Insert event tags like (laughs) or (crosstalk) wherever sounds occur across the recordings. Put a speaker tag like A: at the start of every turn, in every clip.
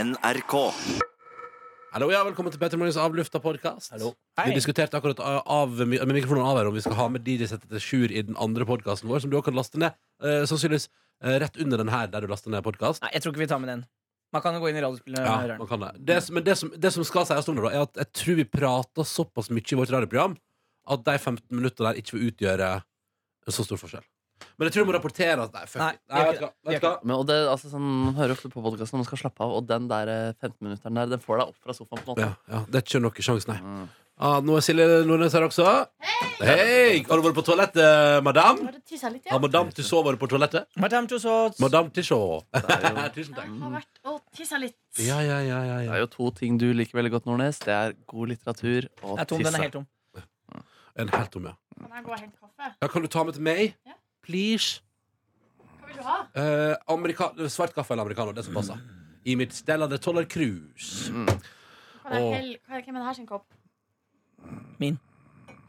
A: NRK.
B: Hallo, ja, velkommen til Petter Morgens Avlufta podcast. Vi diskuterte akkurat av, av, med mikrofonen av her om vi skal ha med DJ-settet til Sjur i den andre podkasten vår, som du også kan laste ned. eh, sannsynligvis eh, rett under den her, der du laster ned podkast.
C: Nei, jeg tror ikke vi tar med den. Man kan jo gå inn i radiospillene og
B: Ja,
C: høre
B: man
C: den.
B: kan det. Det, som- men det som, det som skal sies om det, da, er at jeg tror vi prata såpass mye i vårt radioprogram at de 15 minuttene der ikke vil utgjøre en så stor forskjell. Men jeg tror du må rapportere at Nei, fuck
C: Nei,
B: it. Nei,
C: gjør
B: vet du hva,
C: ikke det.
B: vet du hva?
D: Men, og det, altså, sånn, man hører ofte på podkasten når man skal slappe av, og den der eh, 15-minutteren der, den får deg opp fra sofaen. på en måte
B: Ja, ja, det er ikke noe sjanse, nei.
D: Mm.
B: Ah, nå er Silje Nordnes her også. Hei! Har du vært på toalettet, madam?
E: Bare tissa litt, ja.
B: Har madam Tussauds vært på toalettet?
C: Madame Tussauds.
B: Madame Tussauds.
D: Det
B: (laughs)
D: er, jo,
B: Tusen
E: Jeg har vært og tissa litt.
B: Ja, ja, ja, ja,
D: det
B: ja.
D: er jo to ting du liker veldig godt, Nordnes. Det er god litteratur og
C: er tom, den er helt tom.
B: En helt om, ja.
E: Kan jeg gå og hente kaffe?
B: ja. Kan du ta med til meg?
E: Ja.
B: Please?
E: Hva vil du ha?
B: Eh, amerika- svart kaffe eller americano, det som passer. I mitt Stella de Toller Cruz.
E: Kan jeg
B: Åh.
E: helle, kan, hvem er det her sin kopp?
C: Min.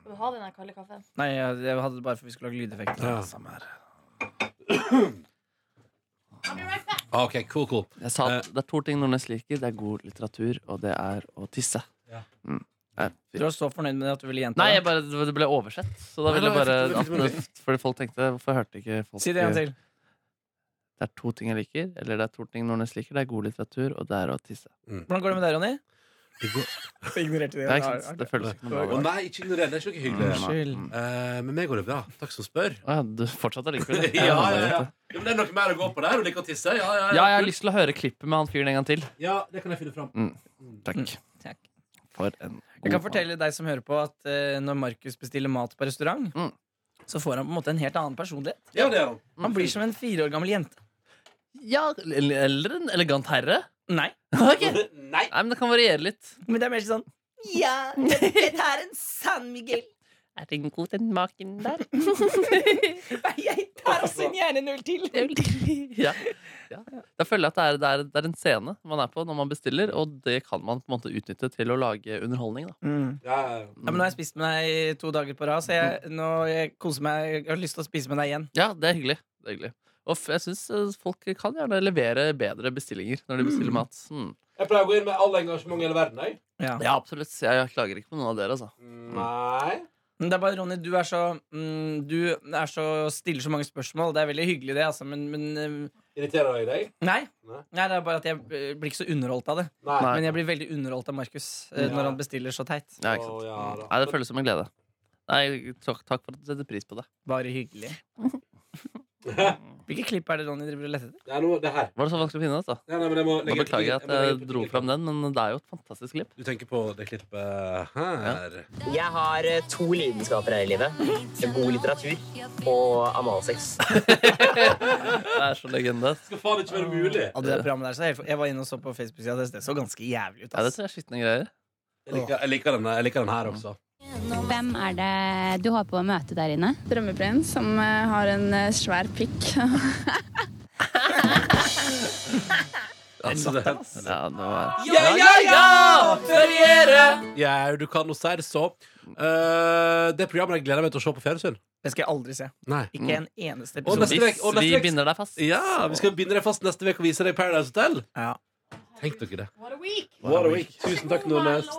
E: Skal du ha den der kalde kaffen?
C: Nei, jeg, jeg hadde det bare for vi skulle lage lydeffekter.
B: Ja.
C: Samme her.
E: I'll be right back.
B: Ah, OK, cool, cool.
D: Jeg sa at det er to ting Nordnes liker. Det er god litteratur, og det er å tisse.
B: Ja.
D: Mm. Er-
C: Du var så fornøyd med det at du ville gjenta
D: Nei, jeg
C: det.
D: bare, det det ble oversett. Så da
B: Nei,
D: ville jeg
B: nei,
D: bare
B: jeg fikk
D: at
B: det, jeg fikk det.
D: det, Fordi folk tenkte Hvorfor hørte ikke folk eh,
C: Si det en gang til.
D: Det er to ting jeg liker, eller det er to ting Nordnes liker. Det er god litteratur, og det er å tisse.
C: Hvordan går det med deg, Ronny?
B: Det går-
C: Jeg ignorerte
D: Det,
C: det.
D: er ikke sant? det føles ikke noe
B: Å
D: bra.
B: nei, ikke ignorer det. Det er ikke noe hyggelig.
D: Mm, nei.
C: Unnskyld.
D: Mm.
B: Eh, men meg går det bra. Takk som spør.
D: Å ja, du
B: (laughs)
D: fortsatte
B: ja,
D: likevel.
B: ja, ja. ja, men det er noe mer å gå på der. Du liker å tisse? Ja, ja,
D: Ja, jeg har lyst til å høre klippet med han fyren en gang til. Mm.
B: Ja, det kan jeg finne fram.
D: Takk.
C: Takk.
D: For en god
C: Jeg kan fortelle deg som hører på, at eh, når Markus bestiller mat på restaurant,
D: Mm.
C: så får han på en måte en helt annen personlighet.
B: Ja, det er han.
C: Han blir som en fire år gammel jente.
D: mann. Ja, eller eller en elegant herre.
C: Nei,
D: Ok. Nei,
B: Nei.
D: men det kan variere litt.
C: men det er mer sånn (laughs) Ja, dette er en San Miguel.
D: Er det god den maken der?
C: Jeg tar også gjerne null til.
D: (laughs) ja. ja. Da føler jeg at det er, det, er, det er en scene man er på når man bestiller, og det kan man på en måte utnytte til å lage underholdning. Da.
C: Mm.
B: Ja, ja, ja.
C: Ja, men nå har jeg spist med deg i to dager på rad, så jeg, nå jeg koser meg. Jeg har lyst til å spise med deg igjen.
D: Ja, det er hyggelig. Det er hyggelig. Og f jeg syns folk kan gjerne levere bedre bestillinger når de bestiller mat. Mm.
B: Jeg pleier å gå inn med all engasjement i hele verden. Jeg.
C: Ja.
D: Ja, absolutt. Jeg klager ikke på noen av dere, altså.
B: Mm. Nei.
C: Men det er bare, Ronny, du er så, mm, du er så stiller så mange spørsmål. Det er veldig hyggelig, det, altså, men, men eh,
B: Irriterer jeg deg?
C: nei.
B: Nei.
C: nei. Det er bare at jeg eh, blir ikke så underholdt av det.
B: Nei.
D: Nei.
C: Men jeg blir veldig underholdt av Markus eh,
B: Ja.
C: når han bestiller så teit.
D: Ja, ikke sant.
B: Å, ja, da.
D: Nei, det føles som en glede. Nei, takk, takk for at du setter pris på det.
C: Bare hyggelig.
B: (laughs)
C: Hvilke klipp er det Ronny driver og leter etter?
B: Det er noe, det her.
D: Var det så vanskelig å finne? Altså?
B: Nei, nei, men jeg må
D: Nå
B: legge
D: beklager jeg at jeg dro fram den, men det er jo et fantastisk
B: (laughs)
D: klipp.
B: Du tenker på det klippet her?
F: Jeg har eh, to lidenskaper her i livet. God litteratur og analsex.
D: Det er så legende.
B: Det skal faen ikke være mulig!
C: Ja, det der programmet der, så jeg, jeg var inne og så på Facebook-sida deres. Det så ganske jævlig ut.
D: Ja, det
C: ass.
D: tror jeg er skitne greier.
B: Jeg liker, jeg liker, den, jeg liker den her også.
G: Hvem er det du har på å møte der inne?
H: Drømmeprins som eh, har en eh, svær pikk.
B: Altså, det,
D: Ja, det var...
B: ja, ja, ja! Feriere! Ja, du kan nå si det så. Eh, det programmet jeg gleder meg til å se på fjernsyn.
C: Det skal jeg aldri se.
B: Nei.
C: Ikke en eneste
B: Og
C: episode.
B: neste vek-
D: Hvis
B: og neste
D: vi
B: vek-
D: binder deg fast.
B: Ja, Vi skal binde deg fast neste uke og vise deg Paradise Hotel.
C: Ja.
B: Tenk dere det.
E: What a week! Oh,
B: What a week. Tusen takk, Nordnes.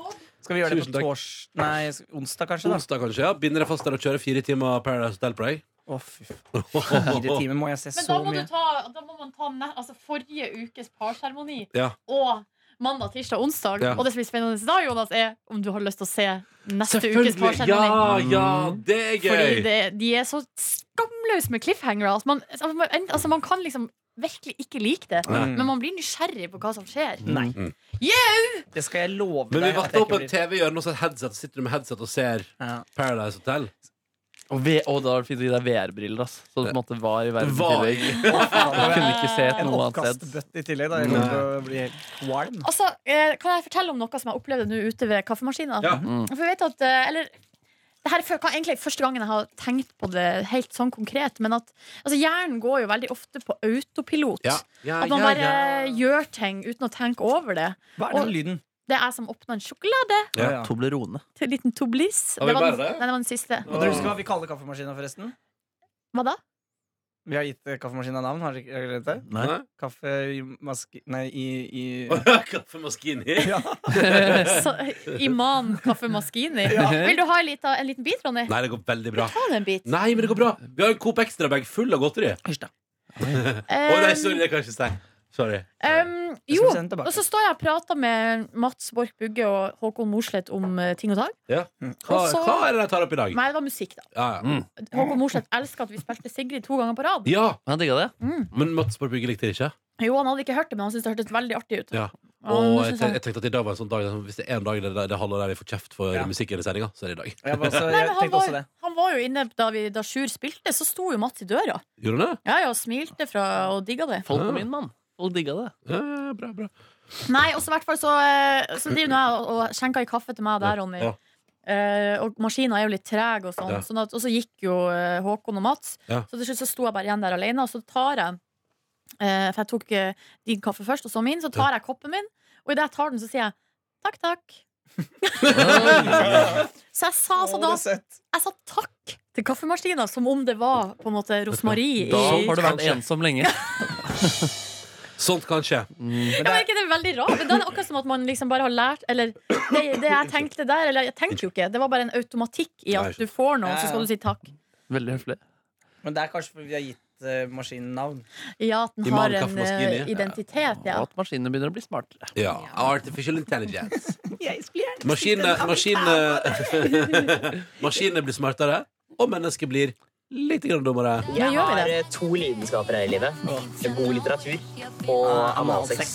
C: Skal vi gjøre det
B: Tusen
C: på
B: takk.
C: tors... Nei, s- onsdag kanskje? da
B: Onsdag, kanskje. ja Binder deg fast der og kjører fire timer Paradise Hotel på deg.
C: Å, fy faen. Fire timer må jeg se
E: Men
C: så
E: da må,
C: mye.
E: du ta, da må man ta ne, altså forrige ukes parseremoni
B: Ja.
E: og mandag, tirsdag, onsdag.
B: Ja.
E: Og det som blir spennende da, Jonas, er om du har lyst til å se neste ukes
B: Selvfølgelig!
E: parseremoni.
B: Ja, ja, det er gøy!
E: Fordi det, de er så skamløse med cliffhanger. Altså man, altså man, altså man kan liksom virkelig ikke like det,
B: Nei.
E: men man blir nysgjerrig på hva som skjer.
C: Nei.
B: Mm.
C: Det skal jeg love
B: Men vi
C: deg. at
B: vatter
C: jeg
B: opp
C: ikke
B: en
C: blir.
B: TV, gjør noe sånn headset, sitter du med headset og ser
C: Ja.
B: Paradise Hotel.
D: Og, v og da var det fint å gi deg VR-briller, ass. Så du på en måte var i verden
B: Var. (laughs)
D: i tillegg. (laughs) Du kunne ikke se
C: En
D: noe annet sted.
C: oppkastbøtte i tillegg. da Jeg kommer til å bli helt kvalm.
E: Altså, eh, kan jeg fortelle om noe som jeg opplevde nå ute ved kaffemaskina?
B: Ja.
D: Mm.
E: For jeg vet at, eh, eller det her er før- egentlig første gangen jeg har tenkt på det helt sånn konkret. Men at altså, hjernen går jo veldig ofte på autopilot.
B: Ja. Ja,
E: At man
B: ja,
E: bare
B: ja.
E: gjør ting uten å tenke over det.
C: Hva er den lyden?
E: Det er jeg som åpna en sjokolade
B: Ja.
C: Å, ja.
D: Toblerone.
E: til en liten toblis.
B: Har vi
E: var den,
B: bare det?
E: nei, det var den siste.
B: (laughs)
C: Og dere husker hva vi kaller kaffemaskina, forresten?
E: Hva da?
C: Vi har gitt eh, kaffemaskinen navn, har dere ikke har dere glemt det?
A: Nei.
C: Kaffe i maske... Nei, i, i
B: Kaffe Moschini.
E: Så, Iman Kaffe Maskini. Vil du ha en liten, en liten bit, Ronny?
B: Nei, det går veldig bra.
E: Ta deg en bit.
B: Nei, men det går bra. Vi har en Coop Extra-bag full av godteri. Å nei, sorry, det kan jeg ikke si. Sorry.
E: Um,
C: Jeg
E: jo,
C: skal sende tilbake.
E: og så står jeg og prater med Mats Borch Bugge og Håkon Mosleth om eh, ting og tang.
B: Ja. Hva,
E: Og så-
B: hva er det jeg tar opp i dag?
E: Nei, det var musikk, da.
B: Ja, ja.
E: Håkon Mosleth elsker at vi spilte Sigrid to ganger på rad.
B: ja,
D: Jeg digga det.
B: men Mats Borg Bugge likte det ikke.
E: Jo, han hadde ikke hørt det, men han syntes det hørtes veldig artig ut.
B: Ja.
E: Ja,
B: Og
E: men
B: jeg
E: det synes
B: ten-
E: jeg-
B: jeg tenkte at i dag var en sånn dag Hvis det er en dag det, det, det halve der vi får kjeft for
C: Ja.
B: musikken i sendinga, så er det i dag.
C: Jeg, var også,
E: Nei,
C: jeg
E: men han
C: tenkte også
E: var,
C: det.
E: han var jo inne da, vi, da Sjur spilte, så sto jo Mats i døra.
B: Gjorde du det?
E: Ja, ja, og smilte fra og digga det.
D: Folk
B: Ja.
D: på min mann. Folk digga det.
B: Eh, bra, bra.
E: Nei, og så i hvert fall så, eh, så driver nå jeg og- og skjenker en kaffe til meg der, Ronny.
B: Ja.
E: Eh, og maskina er jo litt treg, og sånn.
B: Ja.
E: Sånn at, og så gikk jo eh, Håkon og Mats.
B: Ja.
E: Så til slutt så sto jeg bare igjen der alene, og så tar jeg eh, For jeg tok eh, din kaffe først, og så min. Så tar jeg koppen min, og idet jeg tar den, så sier jeg takk, takk. så jeg sa så
C: Å,
E: altså, da
C: det er søtt.
E: Jeg sa takk til kaffemaskina som om det var på en måte rosmarie
D: Da
E: i
D: har du vært ensom
B: (laughs)
D: lenge.
B: Sånt kan skje.
C: Men
E: Ja,
C: det
E: men
C: er,
E: ikke det er veldig rart? Men da er det akkurat som at man liksom bare har lært Eller det, det jeg tenkte der Eller jeg tenkte jo ikke Det var bare en automatikk i at du får noe, så skal du si takk.
D: Veldig høflig.
C: men det er kanskje fordi vi har gitt eh, maskinen navn.
E: Ja, at den
B: Iman
E: har en
B: Kaffemaskini.
E: eh, identitet. Ja.
D: Og at maskinene begynner å bli smartere.
B: Ja. Artificial
E: (laughs)
B: intelligence. Maskinene (laughs) maskinene- maskinene blir smartere, og mennesket blir litt grann dummere.
E: Nå
F: Jeg
E: gjør vi
F: har
E: det.
F: eh, to lidenskaper her i livet. God litteratur og
E: Ah,
C: Ah,
F: amalsex.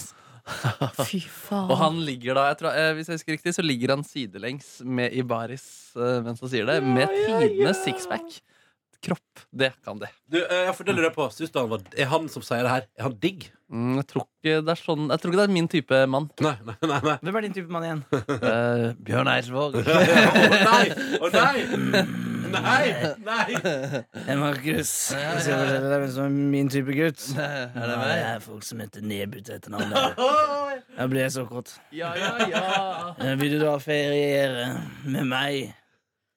E: Fy faen.
D: Og han ligger da, jeg tror, eh, hvis jeg husker riktig, så ligger han sidelengs med i baris eh, mens han sier det. Med tidenes sixpack. Kropp. Det kan det.
B: Du, eh, ja, for det lurer jeg på. Synes du han var, er han som sier det her, er han digg?
D: Mm, jeg, tror ikke det er sånn, jeg tror ikke det er min type mann.
B: Nei, nei, nei. nei.
C: Hvem er din type mann igjen?
D: Eh, Bjørn Eidsvåg.
B: Å nei! Å nei! Nei! nei.
C: Markus. Det er hvem som er min type gutt.
D: Er
C: det er folk som heter Nebut etter (laughs) navnet. Jeg ble så kåt. Eh,
D: Ja, ja, ja.
C: Vil du da feriere med meg?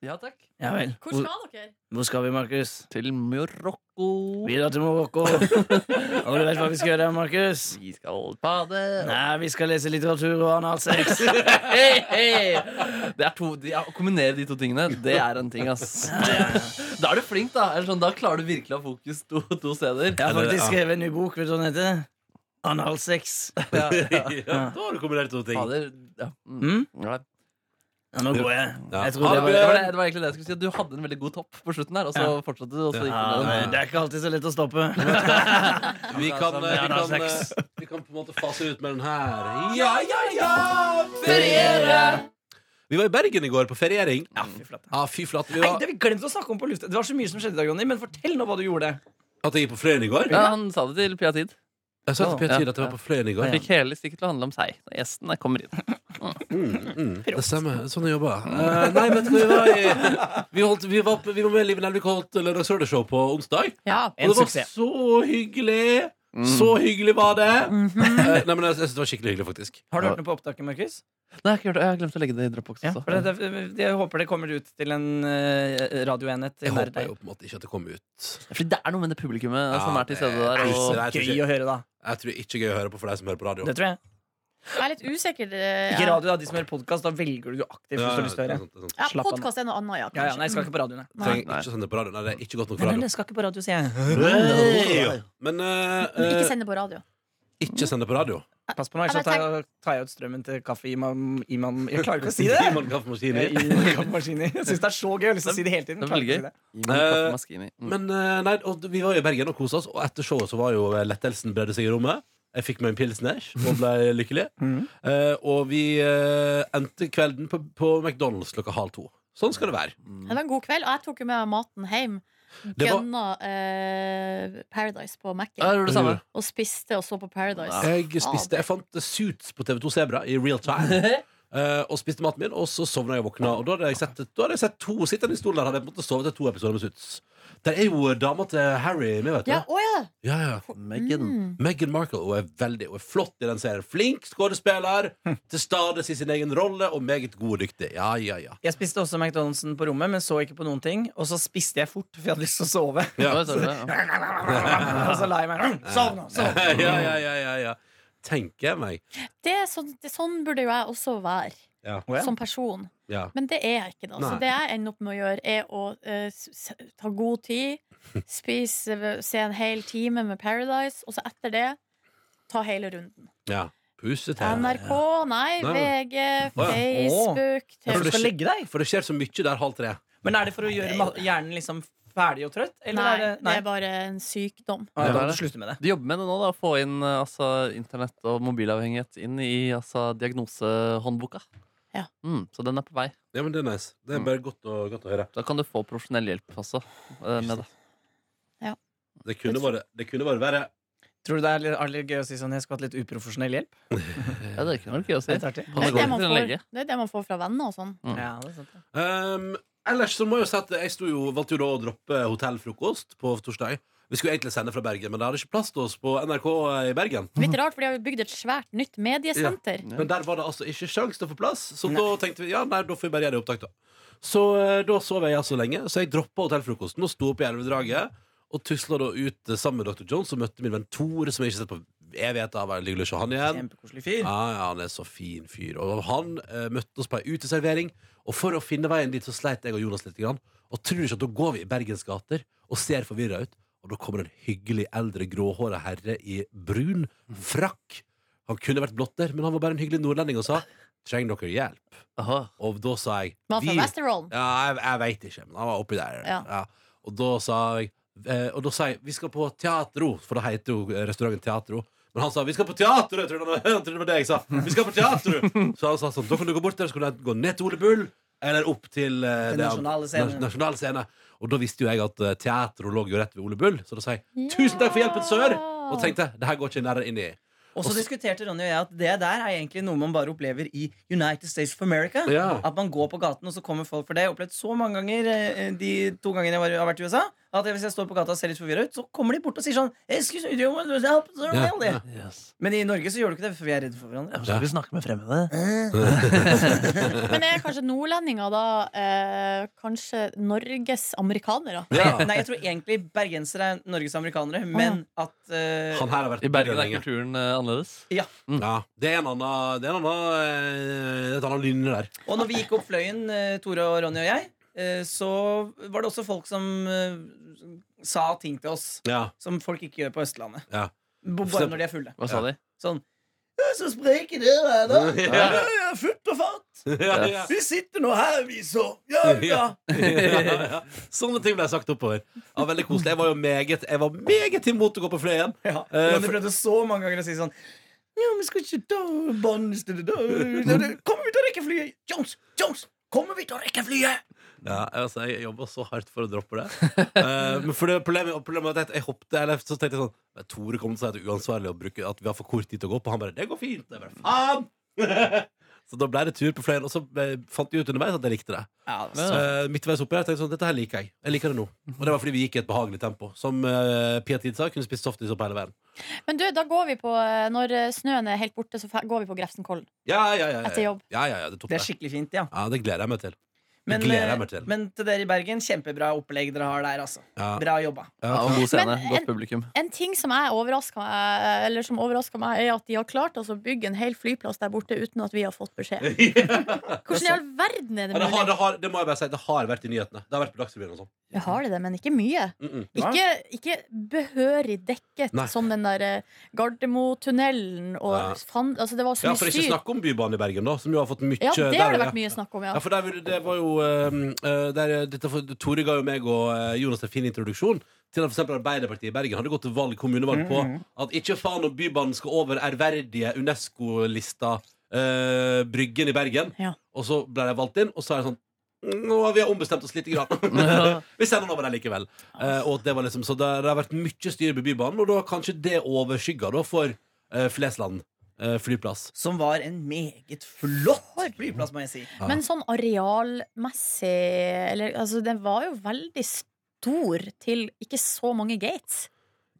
D: Ja takk.
C: Ja vel.
E: Hvor skal dere?
C: Hvor skal vi, Markus?
D: Til Marokko.
C: Vi drar til (laughs) Marokko. Og du vet hva vi skal gjøre, Markus?
D: Vi skal bade.
C: Nei, vi skal lese litteratur og analsex.
D: Hei, hei! Det er to, de, ja, å kombinere de to tingene, det er en ting, ass. Da er du flink, da. Eller sånn, da klarer du virkelig å ha fokus to, to steder.
C: Jeg har faktisk
B: Ja.
C: skrevet en ny bok. Vet du hva den heter? Analsex.
B: Ja, da har du kombinert to ting.
D: Fader, ja. Mm.
C: Mm?
D: Ja.
C: Ja, nå går jeg.
B: Ja.
C: Jeg
D: Ja,
C: tror
D: det,
C: det
D: var,
C: var
D: det, var det, det var egentlig det jeg skulle si. at Du hadde en veldig god topp på slutten her, og så fortsatte du. Og så gikk
C: ja,
D: du
C: nei,
D: ned.
C: Det er ikke alltid så lett å stoppe.
B: Vi kan, eh, vi, kan,
C: Analsex.
B: eh, vi kan på en måte fase ut med den her. Ja, ja, ja! Vi var i Bergen i går på feriering.
C: (laughs) Ja, fy flate.
B: Ja, fy flate. Vi
C: Nei,
B: var,
C: det har vi glemt å snakke om på lufta. Det var så mye som skjedde i dag, Jonny. Men fortell nå hva du gjorde.
B: at jeg gikk på Fløyen i går.
D: Ja, han sa det til Pia Tid.
B: Jeg sa til Per
D: Ja.
B: Tid at jeg var på Fløyen i går.
D: Han fikk hele stykket til å handle om seg. Når gjesten kommer inn.
B: Det stemmer. Sånn jeg jobber. Eh, nei, men vi var i Vi, holdt, vi, var, på- vi var med i Live Nelvik holdt lørdagsrødeshow på onsdag.
E: Ja.
B: Og det var så hyggelig!
D: Mm.
C: Mm.
B: Så hyggelig var det! Eh, Nei, men jeg, jeg synes det var skikkelig hyggelig, faktisk.
C: Har du hørt noe på opptaket, Markus?
D: Nei, jeg har ikke hørt det. Jeg har glemt å legge det i Dropbox også.
C: For det, det, jeg håper det kommer ut til en eh, radioenhet.
B: Jeg
C: nær
B: håper
C: deg.
B: jo på en måte ikke at det kom ut.
D: Fordi det er noe med det publikummet
B: Ja,
D: som er til stede
B: det
D: der.
B: er
D: Og...
B: Jeg tror
C: Gøy
B: ikke-
C: å høre, da.
B: Jeg tror det er ikke gøy å høre på for deg som hører på radio.
C: Det tror jeg.
E: Jeg er litt usikker. eh,
C: Ikke radio, da. De som hører podkast, da velger du jo aktivt hvis du har lyst til å
B: det er
C: høre.
B: sant, det er sant.
E: Ja,
C: Slapp av nå.
E: Podkast er noe annet, ja.
C: Ja, ja, nei,
E: Kanskje.
C: jeg skal ikke på radioen, jeg.
B: Trenger
D: Nei.
B: ikke sende på radio. Nei, det er ikke godt nok for
C: Nei, nei,
B: radio.
C: jeg skal ikke på radio, sier jeg.
B: Men eh,
E: Men
B: eh,
E: Mm. Ikke send det på radio.
B: ikke sende på radio.
C: (laughs) Pass på nå, ellers
E: Ja,
C: så
E: men
C: tar jeg, tar jeg ut strømmen til kaffeimam imam. Jeg klarer ikke å si (laughs) det!
B: (laughs) Iman Kaffemaskini.
C: Jeg gir kaffemaskiner. Jeg syns det er så gøy. Jeg har lyst til å si det hele tiden.
D: Det er
C: Klarer
D: veldig
C: ikke å si det.
D: gøy. Gi meg en kaffe maskini. Mm.
B: Men eh, nei, og vi var jo i Bergen og kosa oss, og etter showet så var jo eh, lettelsen bredde seg i rommet. Jeg fikk meg en pilsners og ble
C: (laughs)
B: lykkelig.
C: Mm.
B: Eh, og vi eh, endte kvelden på, på McDonald's klokka halv to. Sånn skal det være.
C: mm.
E: Det var en god kveld, og jeg tok jo med meg maten hjem.
B: Det var-
E: Gønna eh, Paradise på
D: Ja, jeg
E: Mac-en.
D: gjorde det samme.
E: Og spiste og så på Paradise.
B: Jeg spiste Jeg fant Suits på TV2 Sebra i real time. eh, og spiste maten min, og så sovna jeg og våkna. Og da hadde jeg sett, da hadde jeg sett to sittende i stolen der. Hadde jeg måttet sove til to episoder med Suits. Der er jo dama til Harry med, vet du.
E: Ja, å ja.
B: Ja, ja. Meghan Markle hun er veldig hun er flott i den serien. Flink skuespiller, til stades i sin egen rolle og meget god og dyktig. Ja, ja, ja. (laughs)
C: Jeg spiste også McDonald'sen på rommet, men så ikke på noen ting. Og så spiste jeg fort, for jeg hadde lyst til å sove.
B: Ja.
D: Oi, sorry, ja.
C: og så la jeg meg. Sovna, sovna.
B: ja, ja, ja, ja, ja. Tenker jeg meg.
E: Det er sånn, det, sånn burde jo jeg også være,
B: Ja.
C: Å, ja.
E: som person.
B: ja.
E: Men det er jeg ikke. da Så
B: Nei.
E: det jeg ender opp med å gjøre, er å eh, s- s- ta god tid, spise, se en hel time med Paradise, og så etter det ta hele runden.
B: ja. Puse til.
E: NRK,
B: Nei,
E: nei,
B: nei. Å,
E: VG,
C: ja. Å.
E: Facebook
C: Ja, for
E: TV.
C: du skal legge deg.
B: For det skjer så mye der halv tre.
C: Men er det for å gjøre ma- hjernen liksom ferdig og trøtt? Eller
E: Nei,
C: er det
E: det er bare en sykdom.
C: Å, ja, da
D: Ja, det er
C: må du
D: det.
C: slutte med det.
D: De jobber med det nå, da. Å få inn eh, altså, internett og mobilavhengighet inn i altså, diagnosehåndboka.
E: Ja.
D: Mm, så den er på vei.
B: Ja, men Det er nice. Det er bare godt å, godt å høre.
D: Da kan du få profesjonell hjelp også. eh, med det.
B: Det kunne vært det kunne vært verre.
C: Tror du det er litt, er litt gøy å si sånn jeg skulle hatt litt uprofesjonell hjelp?
D: Ja, det er ikke noe gøy å si.
C: Det er litt artig. Mm.
D: Han
E: Det
D: er god
E: er det man
D: til å
E: får,
D: legge.
E: det er det man får fra venner og sånn.
C: Ja, det er sant. det.
B: Um, ellers så må jeg jo si at jeg sto jo, valgte jo da å droppe hotellfrokost på torsdag. Vi skulle egentlig sende fra Bergen, men det hadde ikke plass til oss på NRK i Bergen.
E: Litt rart, for de har jo bygd et svært nytt mediesenter.
B: Men der var det altså ikke sjans til å få plass, så da tenkte vi ja, nei, da får vi bare gjøre det i opptak, da. Så eh, da sov jeg altså lenge, så jeg droppa hotellfrokosten og sto opp i elvedraget. Og tusla da ut eh, sammen med Dr. Jones og møtte min venn Tore, som jeg ikke har sett på evigheter. Veldig hyggelig å se han igjen.
C: Kjempekoselig fyr.
B: Ja, ja, han er så fin fyr. Og han eh, møtte oss på ei uteservering. Og for å finne veien dit så sleit jeg og Jonas litt. Grann. Og tror du ikke at da går vi i Bergens gater og ser forvirra ut, og da kommer en hyggelig eldre gråhåra herre i brun frakk. Han kunne vært blotter, men han var bare en hyggelig nordlending og sa 'Trenger dere hjelp?'
D: Aha.
B: Og da sa jeg
E: Var han
B: «Vi-
E: fra Vesterålen?
B: ja, jeg, jeg veit ikke, men han var oppi der. Ja.
E: Ja.
B: Og da sa jeg eh, Og da sa jeg vi skal på Teatro, for det heter jo eh, restauranten Teatro. Men han sa vi skal på teatro! Jeg trodde han var- (laughs) han trodde det var det jeg sa. Vi skal på teatro Så han sa sånn, da kan du gå bort der, så kan du enten gå ned til Ole Bull, eller opp til eh,
C: Den
B: det-
C: nasjonale scenen.
B: nas- nasjonale scene. Og da visste jo jeg at eh, teatro lå jo rett ved Ole Bull, så da sa jeg tusen takk for hjelpen, sør! Og tenkte det her går ikke nærmere inn i.
C: Og så diskuterte Ronny og jeg at det der er egentlig noe man bare opplever i United States of America.
B: Ja.
C: At man går på gaten, og så kommer folk for det. Jeg har opplevd så mange ganger eh, de to gangene jeg var, har vært i USA, at hvis jeg står på gata og ser litt forvirra ut, så kommer de bort og sier sånn Excuse me, do you want to help?
B: Ja, ja.
C: Men i Norge så gjør du ikke det, for vi er redde for hverandre.
B: Ja.
D: vi snakke med fremmede?
E: Men er kanskje nordlendinger da eh, kanskje Norges amerikanere?
B: Ja.
C: Nei, jeg tror egentlig bergensere er Norges amerikanere, men at eh,
B: (laughs) Han her har vært
D: I Bergen er
B: lenge.
D: kulturen eh, annerledes.
C: Ja.
B: Ja, det er en annen, det er en annen, eh, et annet lynne der.
C: Og når vi gikk opp fløyen, eh, Tore og Ronny og jeg, eh, så var det også folk som eh, sa ting til oss
B: Ja, (laughs)
C: som folk ikke gjør på Østlandet.
B: ja.
C: B- Bare når de er fulle.
D: Hva sa de?
C: Sånn «Ja, så spreke dere er, da! Ja,
B: Ja.
C: ja, futt og fatt!
B: ja, ja.
C: Vi sitter nå her, vi, så! Ja, ja!
B: Ja. (laughs) Sånne ting ble sagt oppover. Ja, veldig koselig. Jeg var jo meget, jeg var meget imot å gå på fløyen.
C: ja.
B: Eh,
C: Ronny
B: for-
C: prøvde så mange ganger å si sånn ja, vi skal ikke ta bannes til det da da- da- Kommer vi til å rekke flyet? Jones! Jones! Kommer vi til å rekke flyet?
B: Ja, altså, jeg jobba så hardt for å droppe det. (laughs) Eh, men for det problemet, og problemet var at jeg hoppet Eller så tenkte jeg sånn "Men Tore kommer til å si at det er uansvarlig å bruke At vi har for kort tid til å gå på. Han bare 'Det går fint'. Jeg bare, Faen! (laughs) Så da ble det tur på fløyen, og så eh, fant vi ut underveis at jeg likte det.
C: Ja,
D: Ja.
B: Eh, midtveis oppi her tenkte jeg sånn Dette her liker jeg. Jeg liker det nå. Og det var fordi vi gikk i et behagelig tempo. Som eh, Pia Tid sa, kunne spist softis opp hele veien.
E: Men du, da går vi på eh, Når eh, snøen er helt borte, så fe- går vi på Grefsenkollen.
B: Ja, ja, ja. ja.
E: Etter jobb.
B: Ja, ja, ja, det, er topp,
C: Det
B: det.
C: er skikkelig fint, ja.
B: ja, det gleder jeg meg til. Det
C: Men,
B: gleder jeg meg
C: eh,
B: til.
C: men til dere i Bergen, kjempebra opplegg dere har der, altså.
B: Ja.
C: Bra jobba.
D: Ja, det var en god scene.
E: Men en-
D: Godt publikum.
E: En ting som jeg overraska meg, eh, eller som overrasker meg, er at de har klart altså, å bygge en hel flyplass der borte uten at vi har fått beskjed. Hvordan i all verden er
B: Ja,
E: det
B: (laughs) det, har,
E: mulig?
B: det, har, det må jeg bare si, det har vært i nyhetene. Det har vært på Dagsrevyen og sånn.
E: Jeg har det, men ikke mye.
B: Mm -mm.
C: Ja.
E: Ikke, ikke behørig dekket,
B: Nei.
E: som den der eh, Gardermotunnelen og
B: Ja.
E: fan, altså, Det var så
B: Ja, for
E: mye
B: ikke
E: styr.
B: snakke om Bybanen i Bergen, da, som jo har fått mye
E: Ja, det
B: der
E: har
B: er
E: det vært mye snakk om, ja.
B: Ja, for der, det var jo ehm, eh, der, dette, for- Tore ga jo meg og eh, Jonas en fin introduksjon til at for eksempel Arbeiderpartiet i Bergen hadde gått til valg kommunevalg
E: Mm,
B: på at ikke faen om Bybanen skal over ærverdige UNESCO-lista eh, Bryggen i Bergen.
E: Ja.
B: Og så ble de valgt inn, og så er det sånn nå, Vi har ombestemt oss lite
E: (laughs)
B: grann. (laughs) vi sender den over der likevel. Eh, og det var liksom, så det, det har vært mye styr med Bybanen, og da har kanskje det overskygga da for eh, Flesland eh, flyplass.
C: Som var en meget flott
E: for.
C: Flyplass, må jeg si.
B: Ja.
E: Men sånn arealmessig eller, altså, Den var jo veldig stor til ikke så mange gates.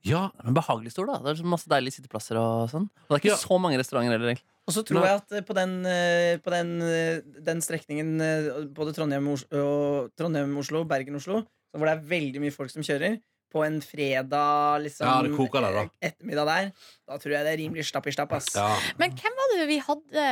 B: Ja,
D: Men behagelig stor, da. Det er så masse deilige sitteplasser og sånn. Og det er ikke
B: Ja.
D: så mange restauranter heller. egentlig.
C: Og så tror
B: Nei.
C: jeg at eh, på den, eh, på den, eh, den strekningen, eh, både Trondheim og Os- og Trondheim-Oslo, Bergen-Oslo, så hvor det er veldig mye folk som kjører, på en fredag liksom,
B: Ja, det koker der, da.
C: eh, ettermiddag der, da tror jeg det er rimelig stapp i stapp. ass.
B: ja.
E: Men hvem var det vi hadde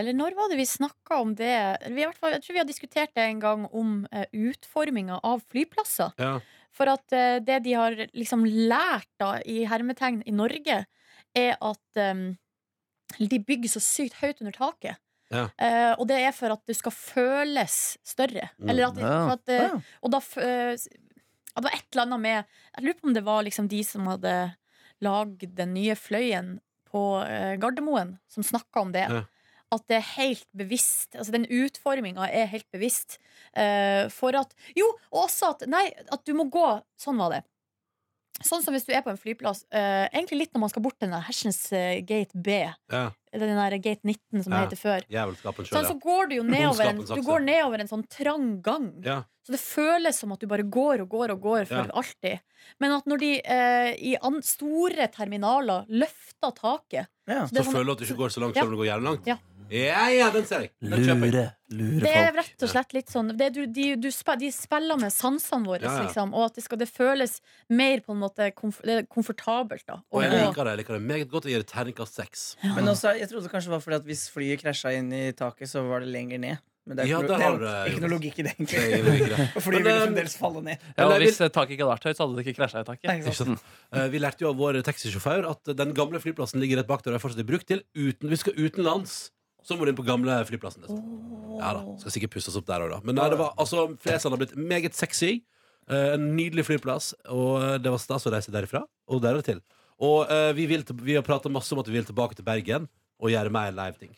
E: Eller når var det vi snakka om det? Vi, i hvert fall, jeg tror vi har diskutert det en gang om uh, utforminga av flyplasser.
B: ja.
E: For at eh, det de har liksom lært da, i hermetegn i Norge, er at eh, de bygger så sykt høyt under taket.
B: Ja.
E: Eh, og det er for at det skal føles større.
B: Mm.
E: Eller at,
D: Ja.
E: for at, eh,
C: Ja.
E: og da f- eh, s- ja, Det var et eller annet med Jeg lurer på om det var liksom de som hadde lagd den nye fløyen på eh, Gardermoen, som snakka om det.
B: Ja.
E: At det er helt bevisst. Altså Den utforminga er helt bevisst. eh, for at Jo, og også at Nei, at du må gå Sånn var det. Sånn som hvis du er på en flyplass. eh, egentlig litt når man skal bort til den der Hersens eh, gate B.
B: ja.
E: Den der gate 19, som
B: Ja.
E: det heter før.
B: Jævelskapen
E: Sånn,
B: sjøl,
E: så går du jo nedover en,
B: Ondskapens akse.
E: du går nedover en sånn trang gang.
B: ja.
E: Så det føles som at du bare går og går og går for
B: Ja.
E: alltid. Men at når de eh, i an store terminaler løfter taket
C: Ja.
B: Så
E: så det, er sånn,
B: føler du at du ikke går så langt,
E: Ja.
B: selv om du går jævlig langt?
E: Ja.
B: ja, ja, den ser jeg. Den kjøper jeg.
D: lure
E: det er rett og slett litt sånn det, du, de, du, spe- De spiller med sansene våre,
B: Ja, ja.
E: liksom. Og at det, skal, det føles mer på en måte komf det er komfortabelt, da.
B: Og jeg
E: gå-
B: liker det. Jeg liker det meget godt å gi det terningkast seks.
C: Men også, jeg trodde kanskje det var fordi at hvis flyet krasja inn i taket, så var det lenger ned. Men det er,
B: Ja,
C: ikke,
B: der
C: noe-
B: har
C: det
B: du
C: er
B: det,
C: ikke noe
B: Jonas.
C: logikk i det,
B: Det er
C: (laughs) egentlig.
B: egentlig
E: (laughs)
B: ikke det.
C: For flyet ville
E: liksom-
B: Men, eh,
C: fremdeles falle ned.
D: Ja,
B: Eller
D: og
B: jeg
D: hvis eh, taket ikke hadde vært høyt, så hadde det ikke krasja i taket.
C: Nei, ikke sant?
B: Ikke sant? Eh, Vi lærte jo av vår taxisjåfør at den gamle flyplassen ligger rett bak der og er fortsatt i bruk til. Uten, vi skal utenlands, så må du inn på gamle flyplassen. Liksom. Ja da, Skal sikkert pusses opp der òg, da. Men nei, det var, altså, Flesland har blitt meget sexy. Eh, En nydelig flyplass, og eh, det var stas å reise derifra og derav til. Og eh, vi, vil til, vi har prata masse om at vi vil tilbake til Bergen og gjøre mer live-ting.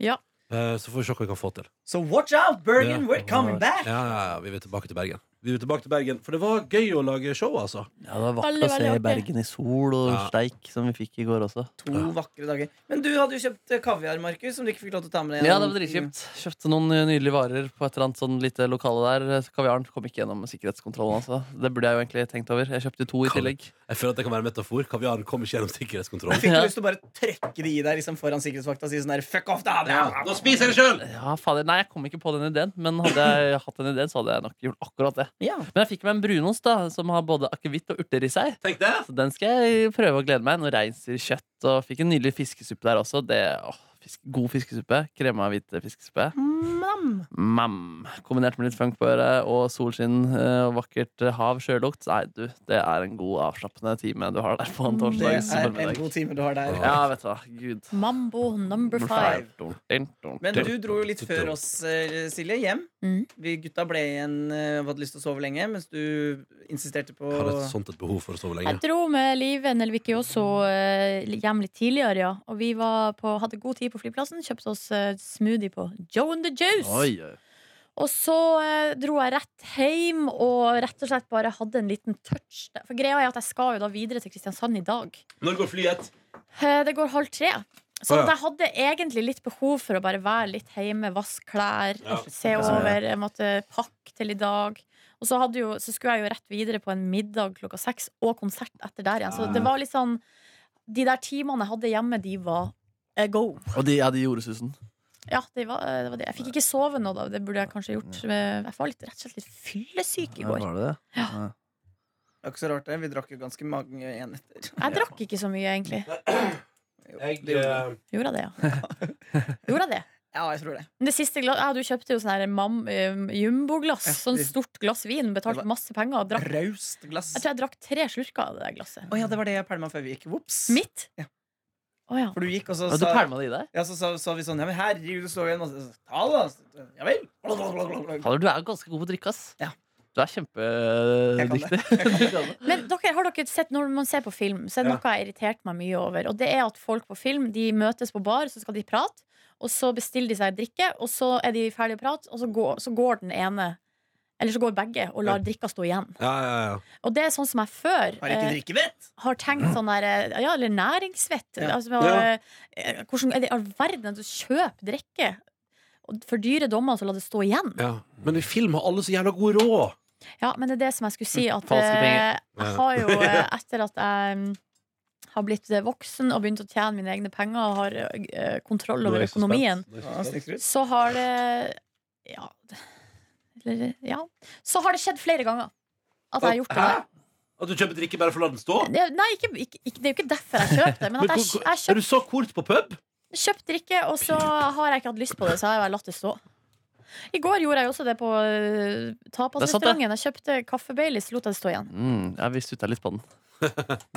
E: Ja.
B: Eh, Så får vi se hva vi kan få til.
C: So watch out, Bergen!
B: Ja.
C: We're coming back!
B: Ja, ja, ja, vi vil tilbake til Bergen. Vi vil tilbake til Bergen, For det var gøy å lage show, altså.
D: Ja, det var
E: Veldig, veldig artig.
D: i sol og
B: Ja.
D: steik, som vi fikk i går også.
C: To vakre dager. Men du hadde jo kjøpt eh, kaviar, Markus, som du ikke fikk lov til å ta med deg.
D: Ja, det
C: gjennom-
D: var dritkjipt. Kjøpte noen eh, nydelige varer på et eller annet sånn lite lokale der. Kaviaren kom ikke gjennom sikkerhetskontrollen, altså. Det burde jeg jo egentlig tenkt over. Jeg kjøpte to i
B: Kan-
D: tillegg.
B: Jeg føler at det kan være en metafor. Kaviaren kom ikke gjennom sikkerhetskontrollen.
C: Fikk du
D: Ja.
C: lyst til å bare trekke det i deg liksom foran sikkerhetsvakta og si sånn der Fuck off, da!
B: Nå spiser jeg det sjøl!
D: Ja, fader. Nei, jeg kom ikke på den ideen, men hadde jeg hatt den ideen, så hadde jeg nok gjort akkurat det.
C: Ja.
D: Men jeg fikk meg en brunost, da, som har både akevitt og urter i seg.
B: Tenk det!
D: Så den skal jeg prøve å glede meg. Noe reinsdyrkjøtt og fikk en nydelig fiskesuppe der også. Det, åh, fisk, god fiskesuppe. Krema og hvit fiskesuppe. Mam. Kombinert med litt funk på øret og solskinn eh, og vakkert eh, hav, sjølukt. Nei, du, det er en god avslappende time du har der på en
C: Det
D: torsdags
C: er en
D: formiddag.
C: god time du har der.
B: Ja.
D: Ja, vet du hva. Gud.
E: Mambo number five.
C: Men du dro jo litt
B: Du-
C: før oss, eh, Silje, hjem.
E: Mm.
C: Vi gutta ble igjen eh, og hadde lyst til å sove lenge, mens du insisterte på
B: Har et sånt et behov for å sove lenge?
E: Jeg dro med Live Nelvik også eh, hjem litt tidligere, ja. Og vi var på, hadde god tid på flyplassen. Kjøpte oss eh, smoothie på Joe and the Juice.
D: Oi, oi.
E: Og så eh, dro jeg rett hjem og rett og slett bare hadde en liten touch. der. For greia er at jeg skal jo da videre til Kristiansand i dag.
B: Når går flyet?
E: Eh, Det går halv tre.
B: Å,
E: Så
B: ja.
E: at jeg hadde egentlig litt behov for å bare være litt hjemme, vaske klær,
B: Ja.
E: se over, jeg måtte pakke til i dag. Og så, hadde jo, så skulle jeg jo rett videre på en middag klokka seks, og konsert etter der igjen. Så
B: Ah.
E: det var litt sånn De der timene jeg hadde hjemme, de var eh, go.
D: Og de, ja, de gjorde susen.
E: Ja, det var, eh, det var det. Jeg fikk ikke sove nå, da. Det burde jeg kanskje gjort. Jeg var litt, rett og slett litt fyllesyk i går.
D: Var det det?
C: Det er ikke så rart, det. Vi drakk jo ganske mange igjen etter.
E: Jeg drakk ikke så mye, egentlig.
B: Jeg,
C: Det gjorde
B: eh,
E: Gjorde jeg det,
C: (laughs)
E: ja. Gjorde jeg det.
C: Ja, jeg tror det.
E: Men Det siste glass, ja, Du kjøpte jo sånn her mam- eh, jumboglass.
C: Ja,
E: Sånn
C: det-
E: stort glass vin. Betalte
C: Det var-
E: masse penger og drakk.
C: Raust glass.
E: Jeg
C: Å
E: tror jeg drakk tre slurker av det der glasset.
C: ja, det var det jeg pælma før vi gikk. Vops.
E: Mitt?
C: Ja.
E: Å ja.
C: For du gikk, og så
D: Og du
C: sa
D: pælma det i deg?
C: ja, så sa, sa vi sånn Ja, men herregud, du står igjen. Og så, ta det, da. Ja vel.
D: Fader, du er ganske god på å drikke, ass.
C: Ja.
D: Du er kjempedyktig. (laughs)
E: Men dere, har dere sett, når man ser på film, så
B: Ja.
E: er det noe jeg har irritert meg mye over. Og det er at folk på film de møtes på bar, så skal de prate. Og så bestiller de seg drikke, og så er de ferdige å prate, og så går, så går den ene Eller så går begge og lar drikka stå igjen.
B: ja, ja, ja.
E: Og det er sånn som jeg før
C: Har ikke
E: eh,
C: drikkevett?
E: har tenkt sånn der eh, Ja, eller næringssvett.
C: Ja.
E: Altså, eh, Hvordan er det i all verden at du kjøper drikke? og for dyre dommer så la det stå igjen.
B: Ja. Men i film har alle så jævla god råd!
E: Ja, men det er det som jeg skulle si. At
D: Falske
E: eh,
D: penger.
E: jeg har jo, eh, etter at jeg mm, har blitt eh, voksen og begynt å tjene mine egne penger og har eh, kontroll
B: Nå er
E: over
B: jeg så spent.
E: økonomien,
B: Nå er jeg så
C: Ja,
B: spent.
C: snikskryt.
E: så har det Ja. det- Eller, ja. Så har det skjedd flere ganger at jeg har gjort det.
B: Hæ?
E: der.
B: At du kjøper drikke bare for å la den stå?
E: Det, nei, ikke, ikke, ikke, det er jo ikke derfor jeg kjøper det.
B: (laughs)
E: Men at
B: Men
E: jeg,
B: hvor-
E: jeg
B: Er du så kort på pub?
E: Kjøpt drikke, og så har jeg ikke hatt lyst på det, så har jeg bare latt det stå. I går gjorde jeg også det på øh, tapasrestauranten. Jeg kjøpte kaffe Baileys, lot jeg det stå igjen.
D: Mm, ja, vi sutta litt på
B: (laughs)
D: den.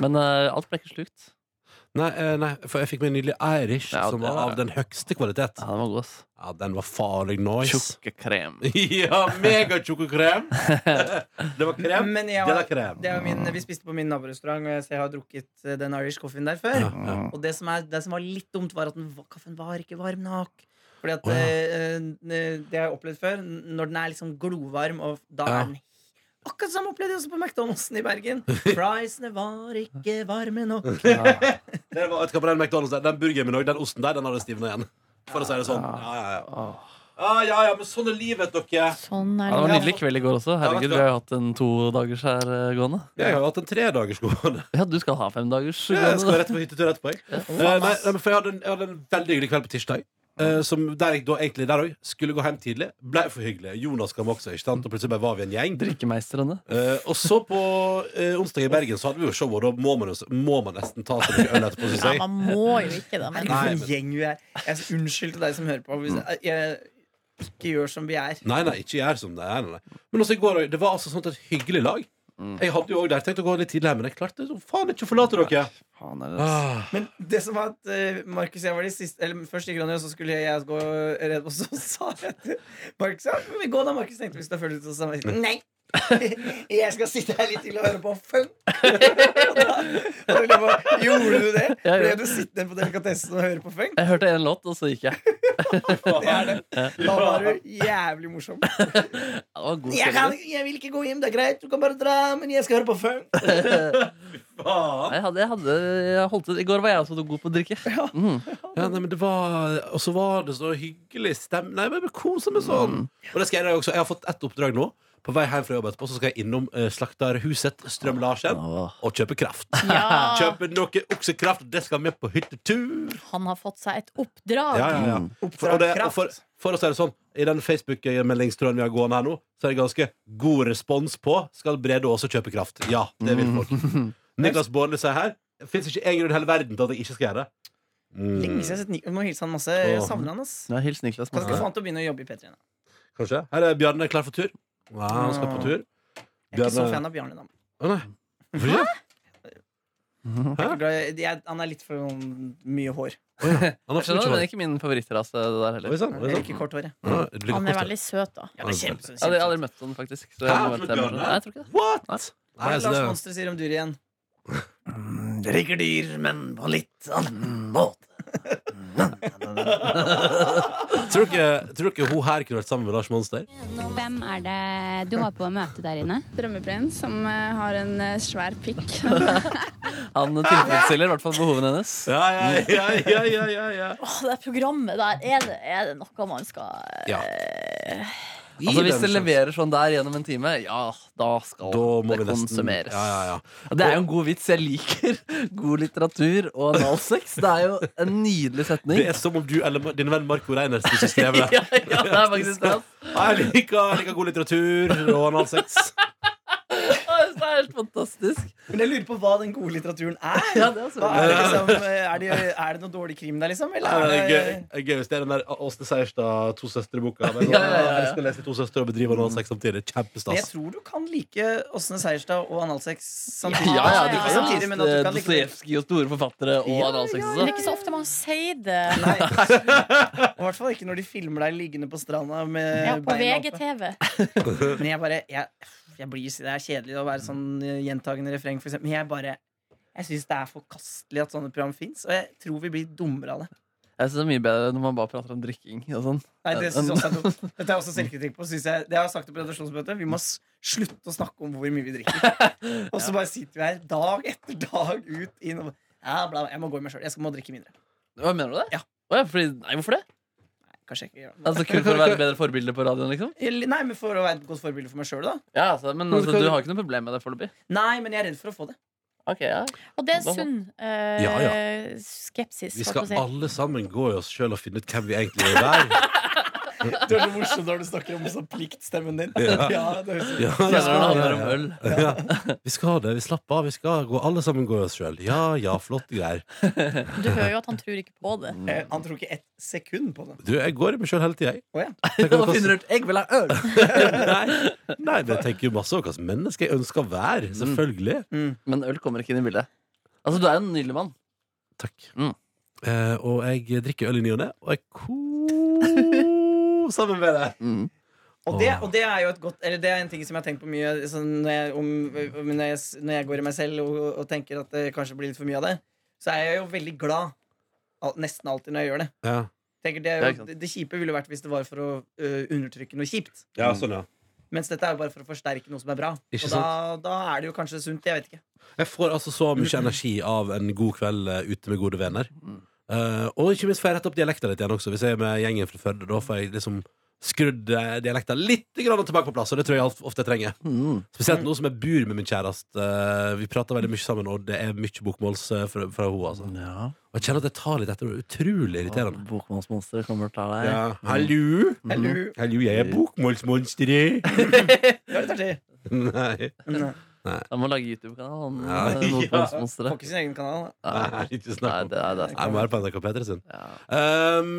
D: Men eh, alt ble ikke slukt.
B: Nei, eh, nei, for jeg fikk meg en nydelig Irish
D: Ja,
B: som
D: det
B: var
D: var-
B: av den høyeste kvalitet.
D: Ja, den var god, ass.
B: Ja, den var farlig nice.
D: Tjukke krem.
B: (laughs) ja, megatjukk
E: (laughs)
B: krem. det var krem.
C: Men jeg
B: Det var
C: var,
B: krem.
C: det er jo min, vi spiste på min naborestaurant, og jeg ser jeg har drukket eh, den Irish coffeen der før.
B: Ja, ja.
C: Og det som, er, det som var litt dumt, var at den, va- kaffen var ikke varm nok. Fordi at
B: Å, ja.
C: eh, eh, Det har jeg opplevd før. n- Når den er liksom glovarm, og da
B: Ja.
C: er den Akkurat som opplevde jeg også på McDonald'sen i Bergen.
B: (laughs)
C: Friesene var ikke varme nok.
B: Det var, vet du hva, på den McDonald's der, den burgeren min og den osten der, den hadde stivna igjen. For å si det sånn. Ja, ja, ja.
D: Åh.
B: Ja, ja, ja, men sånn er livet, dere.
E: Sånn
D: Ja,
E: er
D: det var en
E: det.
D: nydelig kveld i går også. Herregud, Vi har jo hatt en todagers her eh, gående.
B: Jeg har jo hatt en tredagers (laughs) gående.
D: Ja, du skal ha femdagers
B: Jeg skal
D: gående.
B: rett på hyttetur etterpå. Jeg. Eh, nei, nei, men for jeg hadde, en, jeg hadde en veldig hyggelig kveld på tirsdag. eh, som der jeg da egentlig der også, skulle gå hjem tidlig. Ble for hyggelig. Jonas kom også, ikke sant? og plutselig bare var vi en gjeng.
D: Drikkemeistrene.
B: Eh, og så på eh, onsdag i Bergen så hadde vi jo show, og da må man, jo, må man nesten ta seg noe øl etterpå. synes
E: Ja,
B: jeg.
E: man må jo ikke det, men
C: Herregud, for en gjeng vi er. Jeg, unnskyld til deg som hører på. Hvis
B: Mm.
C: jeg, jeg, ikke gjør som vi er.
B: Nei, nei, ikke gjør som det er. Nei, nei. Men også i går, det var altså sånt et hyggelig lag. Jeg hadde jo også der tenkt å gå litt tidlig her, men jeg klarte så faen ikke å forlate dere.
D: Faen, er det
B: Ah,
C: Men det som var at eh, Markus og jeg var de siste Eller først gikk han ned, og så skulle jeg gå redd, og så (laughs) sa jeg til Markus ja, men vi går da, Markus tenkte vi skulle følge ut, og så sa han nei. (laughs) Jeg skal sitte her litt til og høre på funk. (laughs) Og da- og da lurer jeg på, Gjorde du det?
D: Ja, ja.
C: Ble du sittende på delikatessen og høre på funk?
D: Jeg hørte en låt, og så gikk jeg.
C: Det er det. Da var du jævlig morsom.
D: Ja, Det var god
C: Jeg, kan,
D: stemning.
C: jeg vil ikke gå hjem, det er greit, du kan bare dra, men jeg skal høre på funk.
D: Nei, Jeg hadde, jeg hadde, jeg holdt det. I går var jeg også god på å drikke. Mm.
B: ja, nei, men det var, og så var det så hyggelig stemning. Nei, men kosa meg sånn. Og det skal jeg i dag også. Jeg har fått ett oppdrag nå. På vei hjem fra jobb etterpå så skal jeg innom eh, slakterhuset Strøm-Larsen
D: Åh.
B: og kjøpe kraft. (laughs)
E: ja,
B: Kjøpe noe oksekraft, det skal med på hyttetur.
E: han har fått seg et oppdrag.
B: Ja, ja, ja. For, og det, og for, for å si det sånn, i den Facebook-meldingstråden vi har gående her nå, så er det ganske god respons på Skal Brede også kjøpe kraft. Ja, det vil folk. (laughs) Niklas Baarli sier her Det fins ikke én grunn i hele verden til at jeg ikke skal gjøre det. Mm,
C: Lenge siden jeg har sett Nico. Jeg Må hilse han masse. Jeg savner han, ass.
D: Ja, hils Niklas.
C: Han skal få
D: Masse.
C: han til å begynne å jobbe i P3. nå.
B: kanskje. Her er Bjarne klar for tur. Ja, han skal på tur.
C: Jeg er ikke så
B: Bjarne-
C: fan av Bjarne. Da.
B: Å, nei. Hvorfor ikke?
C: Jeg er ikke glad i- jeg, han er litt for sånn mye hår.
B: Han har
D: Jeg
B: for mye
D: skjønner, men
B: hår.
D: ikke min favorittrase, det der heller.
B: Oi sånn. sann.
C: Jeg liker kort hår. jeg.
E: Han er veldig søt, da.
C: Ja, det er kjempe,
D: Jeg hadde
C: kjempe.
D: aldri møtt han, faktisk. Så jeg
B: Hæ?
D: må bare til-
B: Bjørn, nei?
D: Nei, jeg tror ikke det.
B: What?! Nei,
C: Hva er det
B: altså,
C: Lars
B: det,
C: Monster sier om dyr igjen?
D: Det liker dyr, men på en litt annen måte.
B: tror dere- tror dere hun her kunne vært sammen med Lars Monster?
G: Hvem er det du håper å møte der inne?
H: Drømmebrein som eh, har en eh, svær pikk.
D: Han tilfredsstiller i hvert fall behovene hennes.
B: Ja, ja, ja, ja, ja, ja, ja.
E: Åh, det programmet der, er det, er det noe man skal eh,
B: Ja.
D: Altså Hvis
B: Gi dem
D: det
B: en sjanse.
D: leverer sånn der gjennom en time, ja, da skal
B: Da må vi
D: det
B: nesten-
D: konsumeres.
B: Ja, ja, ja.
D: Og Det er jo en god vits. Jeg liker (laughs) god litteratur og analsex. Det er jo en nydelig
B: Det
D: setning.
B: er som om du eller din venn Marco Reinersen som skrev det.
D: Ja, (laughs) ja, det er faktisk det. ass.
B: Jeg liker, jeg liker god litteratur og
D: (laughs)
B: analsex.
D: Å, Det er helt fantastisk.
C: Men jeg lurer på hva den gode litteraturen er. (laughs)
D: Ja, det er
C: Hva er, det liksom, er, det, er det noe dårlig krim der, liksom? Eller
B: Det er
C: er det,
B: gøy- gøy hvis det er den der Åsne Seierstad To søstre-boka. Men
D: (laughs) Ja, ja, ja.
B: Jeg skal lese To søstre og bedrive analsex samtidig.
C: men jeg
B: Kjempestas.
C: tror du kan like Åsne Seierstad og analsex samtidig.
D: Ja, ja, du
E: Ja,
D: kan
E: ja.
D: jo
C: samtidig,
D: lese
C: men at du kan like det.
D: Dostojevskij og store forfattere og
C: Ja,
D: analsex
B: Altså-
E: Men det er
D: også.
E: ikke så ofte man sier det.
C: Nei. Og I hvert fall ikke når de filmer deg liggende på stranda med
E: Ja, på
C: beina oppe.
E: VGTV.
C: Men jeg bare jeg, jeg blir, Det er kjedelig å være sånn eh, gjentagende refreng, for eksempel. Men jeg bare Jeg syns det er forkastelig at sånne program fins, og jeg tror vi blir dummere av det.
D: Jeg synes det er mye bedre når man bare prater om drikking og sånn.
C: Nei, det synes jeg også er dumt. Dette er også selvkritikk på. Synes jeg, det har jeg sagt på redaksjonsmøtet. Vi må s- slutte å snakke om hvor mye vi drikker. Og så bare sitter vi her dag etter dag ut inn og ja, bla, bla, Jeg må gå i meg sjøl. Jeg skal må drikke mindre.
D: Hva mener du det?
C: Ja.
D: Å, ja, fordi, nei, hvorfor det?
C: Kanskje jeg ikke gjør det.
D: Altså Kun for å være et bedre forbilde på radioen, liksom?
C: Eller- Nei, men For å være et godt forbilde for meg sjøl, da.
D: Ja, altså, Men altså, du har ikke noe problem med det foreløpig?
C: Nei, men jeg er redd for å få det.
D: Ok, ja.
E: Og det er en
D: Da-
E: sunn eh,
B: Ja,
E: skepsis.
B: Vi
E: holdt
B: skal
E: på å si.
B: alle sammen gå i oss sjøl og finne ut hvem vi egentlig er.
D: (laughs)
C: Du er så morsom når du snakker om sånn pliktstemmen din.
B: Ja.
C: det er
B: Ja,
D: Kjenner du det handler
B: ja,
D: om
B: ja.
D: øl?
B: Ja. Vi skal ha det, vi slapper av. Vi skal gå, alle sammen gå i oss sjøl. Ja, ja, flotte greier.
E: Du hører jo at han tror ikke på det.
B: Mm.
C: Eh, Han tror ikke ett sekund på det.
B: Du, jeg går i meg sjøl hele tida,
D: (laughs)
B: jeg.
C: Å, ja.
B: Tenker
D: Da
B: på hva som-
D: finner du ut 'jeg vil ha øl'!
B: Nei, nei, men jeg tenker jo masse om hva slags menneske jeg ønsker å være.
D: Mm.
B: Selvfølgelig.
D: Men øl kommer ikke inn i bildet. Altså, du er en nydelig mann.
B: Takk.
D: Mm.
B: Eh, og jeg drikker øl i ny og ne, og
D: (laughs)
B: jeg koser meg med det.
D: Mm.
C: Og det, og det er jo et godt Eller det er en ting som jeg har tenkt på mye sånn, når, jeg, om, om- når, jeg, s- når jeg går i meg selv og, og tenker at det kanskje blir litt for mye av det, så er jeg jo veldig glad al- nesten alltid når jeg gjør det.
B: Ja,
C: Tenker, det,
D: Ja,
C: er jo,
D: ikke sant.
C: det, det kjipe ville vært hvis det var for å øh, undertrykke noe kjipt.
B: sånn, ja.
C: Mens dette er jo bare for å forsterke noe som er bra.
B: Ikke
C: Og da, da er det jo kanskje sunt. Jeg vet ikke.
B: Jeg får altså så mye energi av en god kveld eh, ute med gode venner.
D: Mm.
B: Eh, og ikke minst får jeg rette opp dialekta litt igjen også, hvis jeg er med gjengen fra Førde. Da får jeg liksom skrudd eh, dialekta litt grann tilbake på plass, og det tror jeg alt- ofte jeg trenger.
D: Mm.
B: Spesielt nå som jeg bor med min kjæreste. eh, vi prater veldig mye sammen, og det er mye bokmåls eh, fra, fra henne. Altså.
D: Ja.
B: Og jeg kjenner at jeg tar litt etter henne. Utrolig irriterende.
D: Bokmålsmonsteret kommer til å ta deg.
B: Ja. Hallo?
D: Mhm.
C: Eller,
B: Hallo, jeg er bokmålsmonsteret.
C: det var litt artig.
B: (laughs) Nei.
D: (laughs)
C: Nei.
D: Han må lage YouTube-kanal. han,
B: Ja,
D: (laughs) eh,
B: ja.
C: Får
D: Bokmålsmonsteret.
C: ikke sin egen kanal. da.
B: Nei, ikke snakk
D: Nei,
B: om
D: det er det.
B: Jeg må være på NRK P3 sin.
D: Ja.
B: Ehm,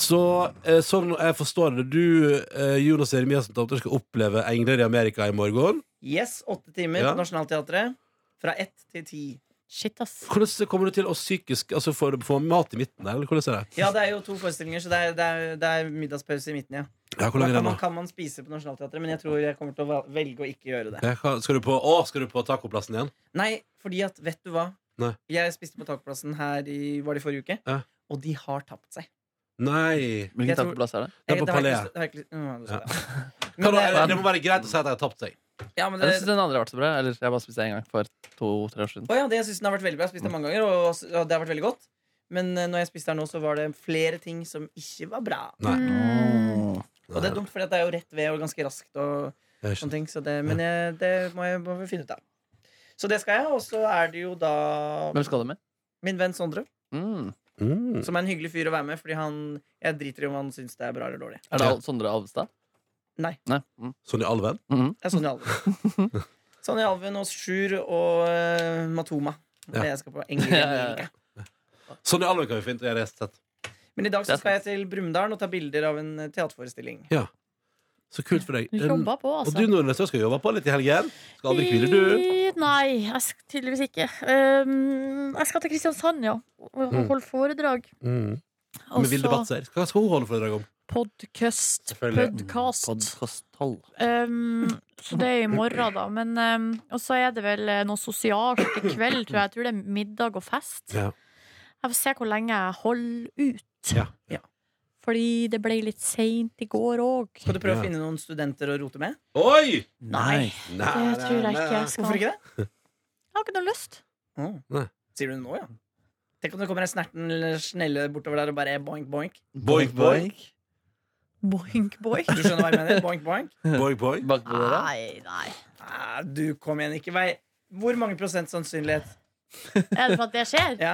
B: så eh, sånn jeg forstår det Du, eh, Jonas Jeremiassen Tomter, skal oppleve engler i Amerika i morgen.
C: Yes, åtte timer
B: Ja.
C: på Nationaltheatret. Fra ett til ti.
E: Shit, ass.
B: Hvordan kommer du til å psykisk Altså Får du får mat i midten, eller hvordan er det?
C: Ja, det er jo to forestillinger, så det er, det er, det er middagspause i midten, ja.
B: Ja, hvor
C: Da
B: lang er
C: kan
B: den,
C: man,
B: da?
C: kan man spise på Nationaltheatret, men jeg tror jeg kommer til å val- velge å ikke gjøre det.
B: Ja, hva- skal du på Å, skal du på tacoplassen igjen?
C: Nei, fordi at, vet du hva?
B: Nei.
C: Jeg spiste på takplassen her i, var det i forrige uke,
B: Ja.
C: og de har tapt seg.
B: Nei.
D: Hvilken
C: Jeg tror-
D: takkeplass er det?
B: Det er på
C: Jeg- har jeg ikke
B: Palais.
C: lyst- det har jeg ikke lyst- Nå, nå skal jeg-
B: (laughs) Kan
C: Men
B: du,
C: det-
B: eh, det må være greit å si at jeg har tapt seg.
C: Ja, men
D: Jeg syns
C: det
D: den aldri har vært så bra. Eller jeg bare spiste en gang for to-tre år siden.
C: Å ja, det syns den har vært veldig bra. Jeg spiste den mange ganger, og, og det har vært veldig godt. Men eh, når jeg spiste her nå, så var det flere ting som ikke var bra.
B: Nei.
E: Mm.
C: Og det er dumt, for det er jo rett ved og ganske raskt. Og
B: Jeg
C: sånne
B: skjønner.
C: ting, så det, men jeg, det må jeg må vi finne ut av. Så det skal jeg. Og så er det jo da
D: Hvem skal du med?
C: min venn Sondre,
D: Mm.
B: Mm.
C: som er en hyggelig fyr å være med. Fordi han, jeg driter i om han syns det er bra eller dårlig.
D: Er det
B: Ja.
D: Al- Sondre Alvestad?
C: Nei.
D: Mm.
B: Sånn i all venn?
D: Mhm.
C: Det er Sonja Alven.
B: (laughs)
C: Sonja Alven og Sjur og eh, Matoma. Det
B: Ja.
C: jeg skal på
B: (laughs)
C: Engel,
D: Ja, ja, ja.
B: Sånn i all venn kan vi fint gjøre rett sett.
C: Men i dag
D: Det
C: så
D: er
C: skal jeg til Brumunddal og ta bilder av en eh, teaterforestilling.
B: Så kult for deg.
E: Du
B: Um,
E: jobber på,
B: og
E: altså.
B: du Nordnes du skal jobbe på litt i helgen? Skal aldri hvile, du.
E: I- Nei, jeg skal tydeligvis ikke. Um, jeg skal til Kristiansand, ja. Og og
B: Mm.
E: holde foredrag.
B: Mm.
E: Og
B: Med Vilde
E: så
B: Batzer. Hva skal hun holde foredrag om?
E: podcast.
B: Selvfølgelig.
E: Podcast.
D: Podkast-hold.
E: Um, så det er i morgen, da. Men, um, og så er det vel eh, noe sosialt i kveld, tror jeg. Jeg tror det er middag og fest.
B: Ja.
E: Jeg får se hvor lenge jeg holder ut.
B: Ja.
C: Ja.
E: Fordi det ble litt seint i går òg.
C: Skal du prøve
B: Ja.
C: å finne noen studenter å rote med?
B: Oi!
E: Nei, det tror jeg ikke. Jeg,
C: eh, Hvorfor
E: skal.
C: ikke det?
E: jeg har ikke noe lyst.
C: Å.
B: Nei.
C: Sier du det nå, ja? Tenk om det kommer en snerten eller snelle bortover der og bare boink, boink.
B: Boink, boink.
E: Boink, boink.
C: Du skjønner hva jeg mener? Boink, boink.
B: Boing, boing.
D: Bak på døra?
E: Nei, nei.
C: Ah, du, kom igjen, ikke vei. Hvor mange prosent sannsynlighet?
E: Er det for at det skjer?
C: Ja.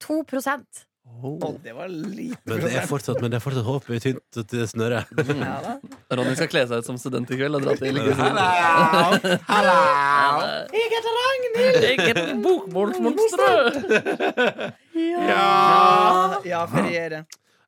E: 2 prosent.
B: Oh.
C: Å, det var lite
B: Men det er
C: prosent.
B: fortsatt, men det er fortsatt håp i tynt til snøre.
C: Ja, da.
D: Ronny skal kle seg ut som student i kveld og dra til
C: Jeg heter Ragnhild!
D: Eget bokmålsmonster!
C: Ja, ja feriere.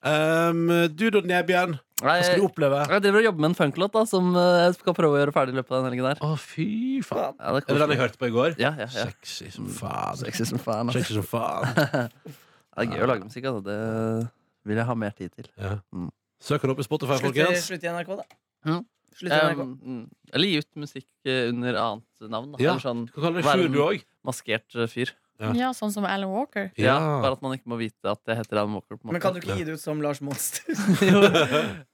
B: Um, du da, Nebjørn,
D: Nei,
B: hva skal du
D: Jeg
B: oppleve?
D: jeg driver og jobber med en funklåt da, som eh, jeg skal prøve å gjøre ferdig i løpet av den helgen. der
B: Å, fy faen.
D: ja,
B: Er
D: det er
B: det den jeg
D: koselig.
B: hørte på i går?
D: Ja, ja, ja.
B: Sexy som faen. (laughs)
D: Sexy som faen. ass.
B: Sexy som faen.
D: Det er gøy å lage musikk. Altså. Det vil jeg ha mer tid til.
B: Ja.
D: Mm.
B: Søk den opp i Spotify,
C: Slutt, i-
B: folkens.
C: slutt i NRK, da.
D: Mm.
C: Slutt i NRK.
D: Um, mm, eller gi ut musikk eh, under annet navn. Da.
B: Ja.
D: Eller sånn
B: Du kan kalle det Sjur, du òg.
D: maskert eh, fyr.
B: Ja.
E: Ja, sånn som Alan Walker.
D: Ja. Bare at man ikke må vite at jeg heter Alan Walker. På en måte.
C: Men kan du ikke gi det ut som Lars Monster?
D: Jo. Nei,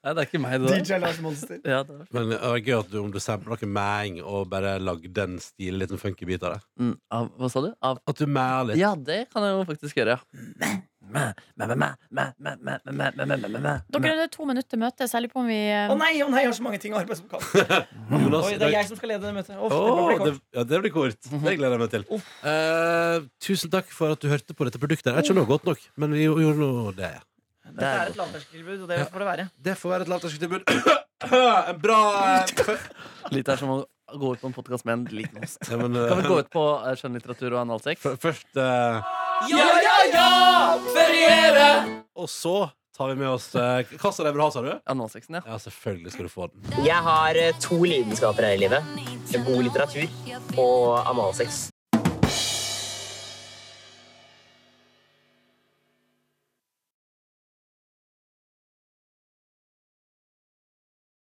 D: det er ikke meg,
C: (laughs)
D: det der.
C: DJ Lars Monster.
D: Ja, det er.
B: Men det var gøy at du, om du sampler noe mang og bare lagde en stilig liten funky bit av det.
D: Mm, av, hva sa du? Av
B: At du mæler litt.
D: Ja, det kan jeg jo faktisk gjøre, ja. Mæ, mæ, mæ, mæ, mæ, mæ, mæ, mæ, mæ, mæ, mæ, mæ.
E: Dere er det to minutter til møtet, så jeg lurer på om vi eh,
C: Å nei, å nei, jeg har så mange ting å arbeide som kan.
B: Jonas,
C: Oi, det er jeg som skal lede det møtet. Uff, det
B: Åh,
C: blir
B: det,
C: kort.
B: ja, det blir kort.
D: Mhm.
B: Det gleder jeg meg til. Eh, tusen takk for at du hørte på dette produktet. Jeg vet ikke om det var godt nok, men vi gjorde nå det.
D: Det
C: Det
D: er
C: er et lavterskeltilbud, og det får det være.
B: Det får være et lavterskeltilbud. (coughs) en bra eh,
D: Litt er som å gå ut på en podkast med en liten ost.
B: ja, men, eh,
D: Kan vi gå ut på eh, skjønnlitteratur og analsex?
B: f- Først eh,
C: Ja, ja, ja! Feriere!
B: Og så tar vi med oss eh, Hva sa du, sa du?
D: Analsexen, ja.
B: Ja, selvfølgelig skal du få den.
F: Jeg har eh, to lidenskaper her i livet. God litteratur og analsex.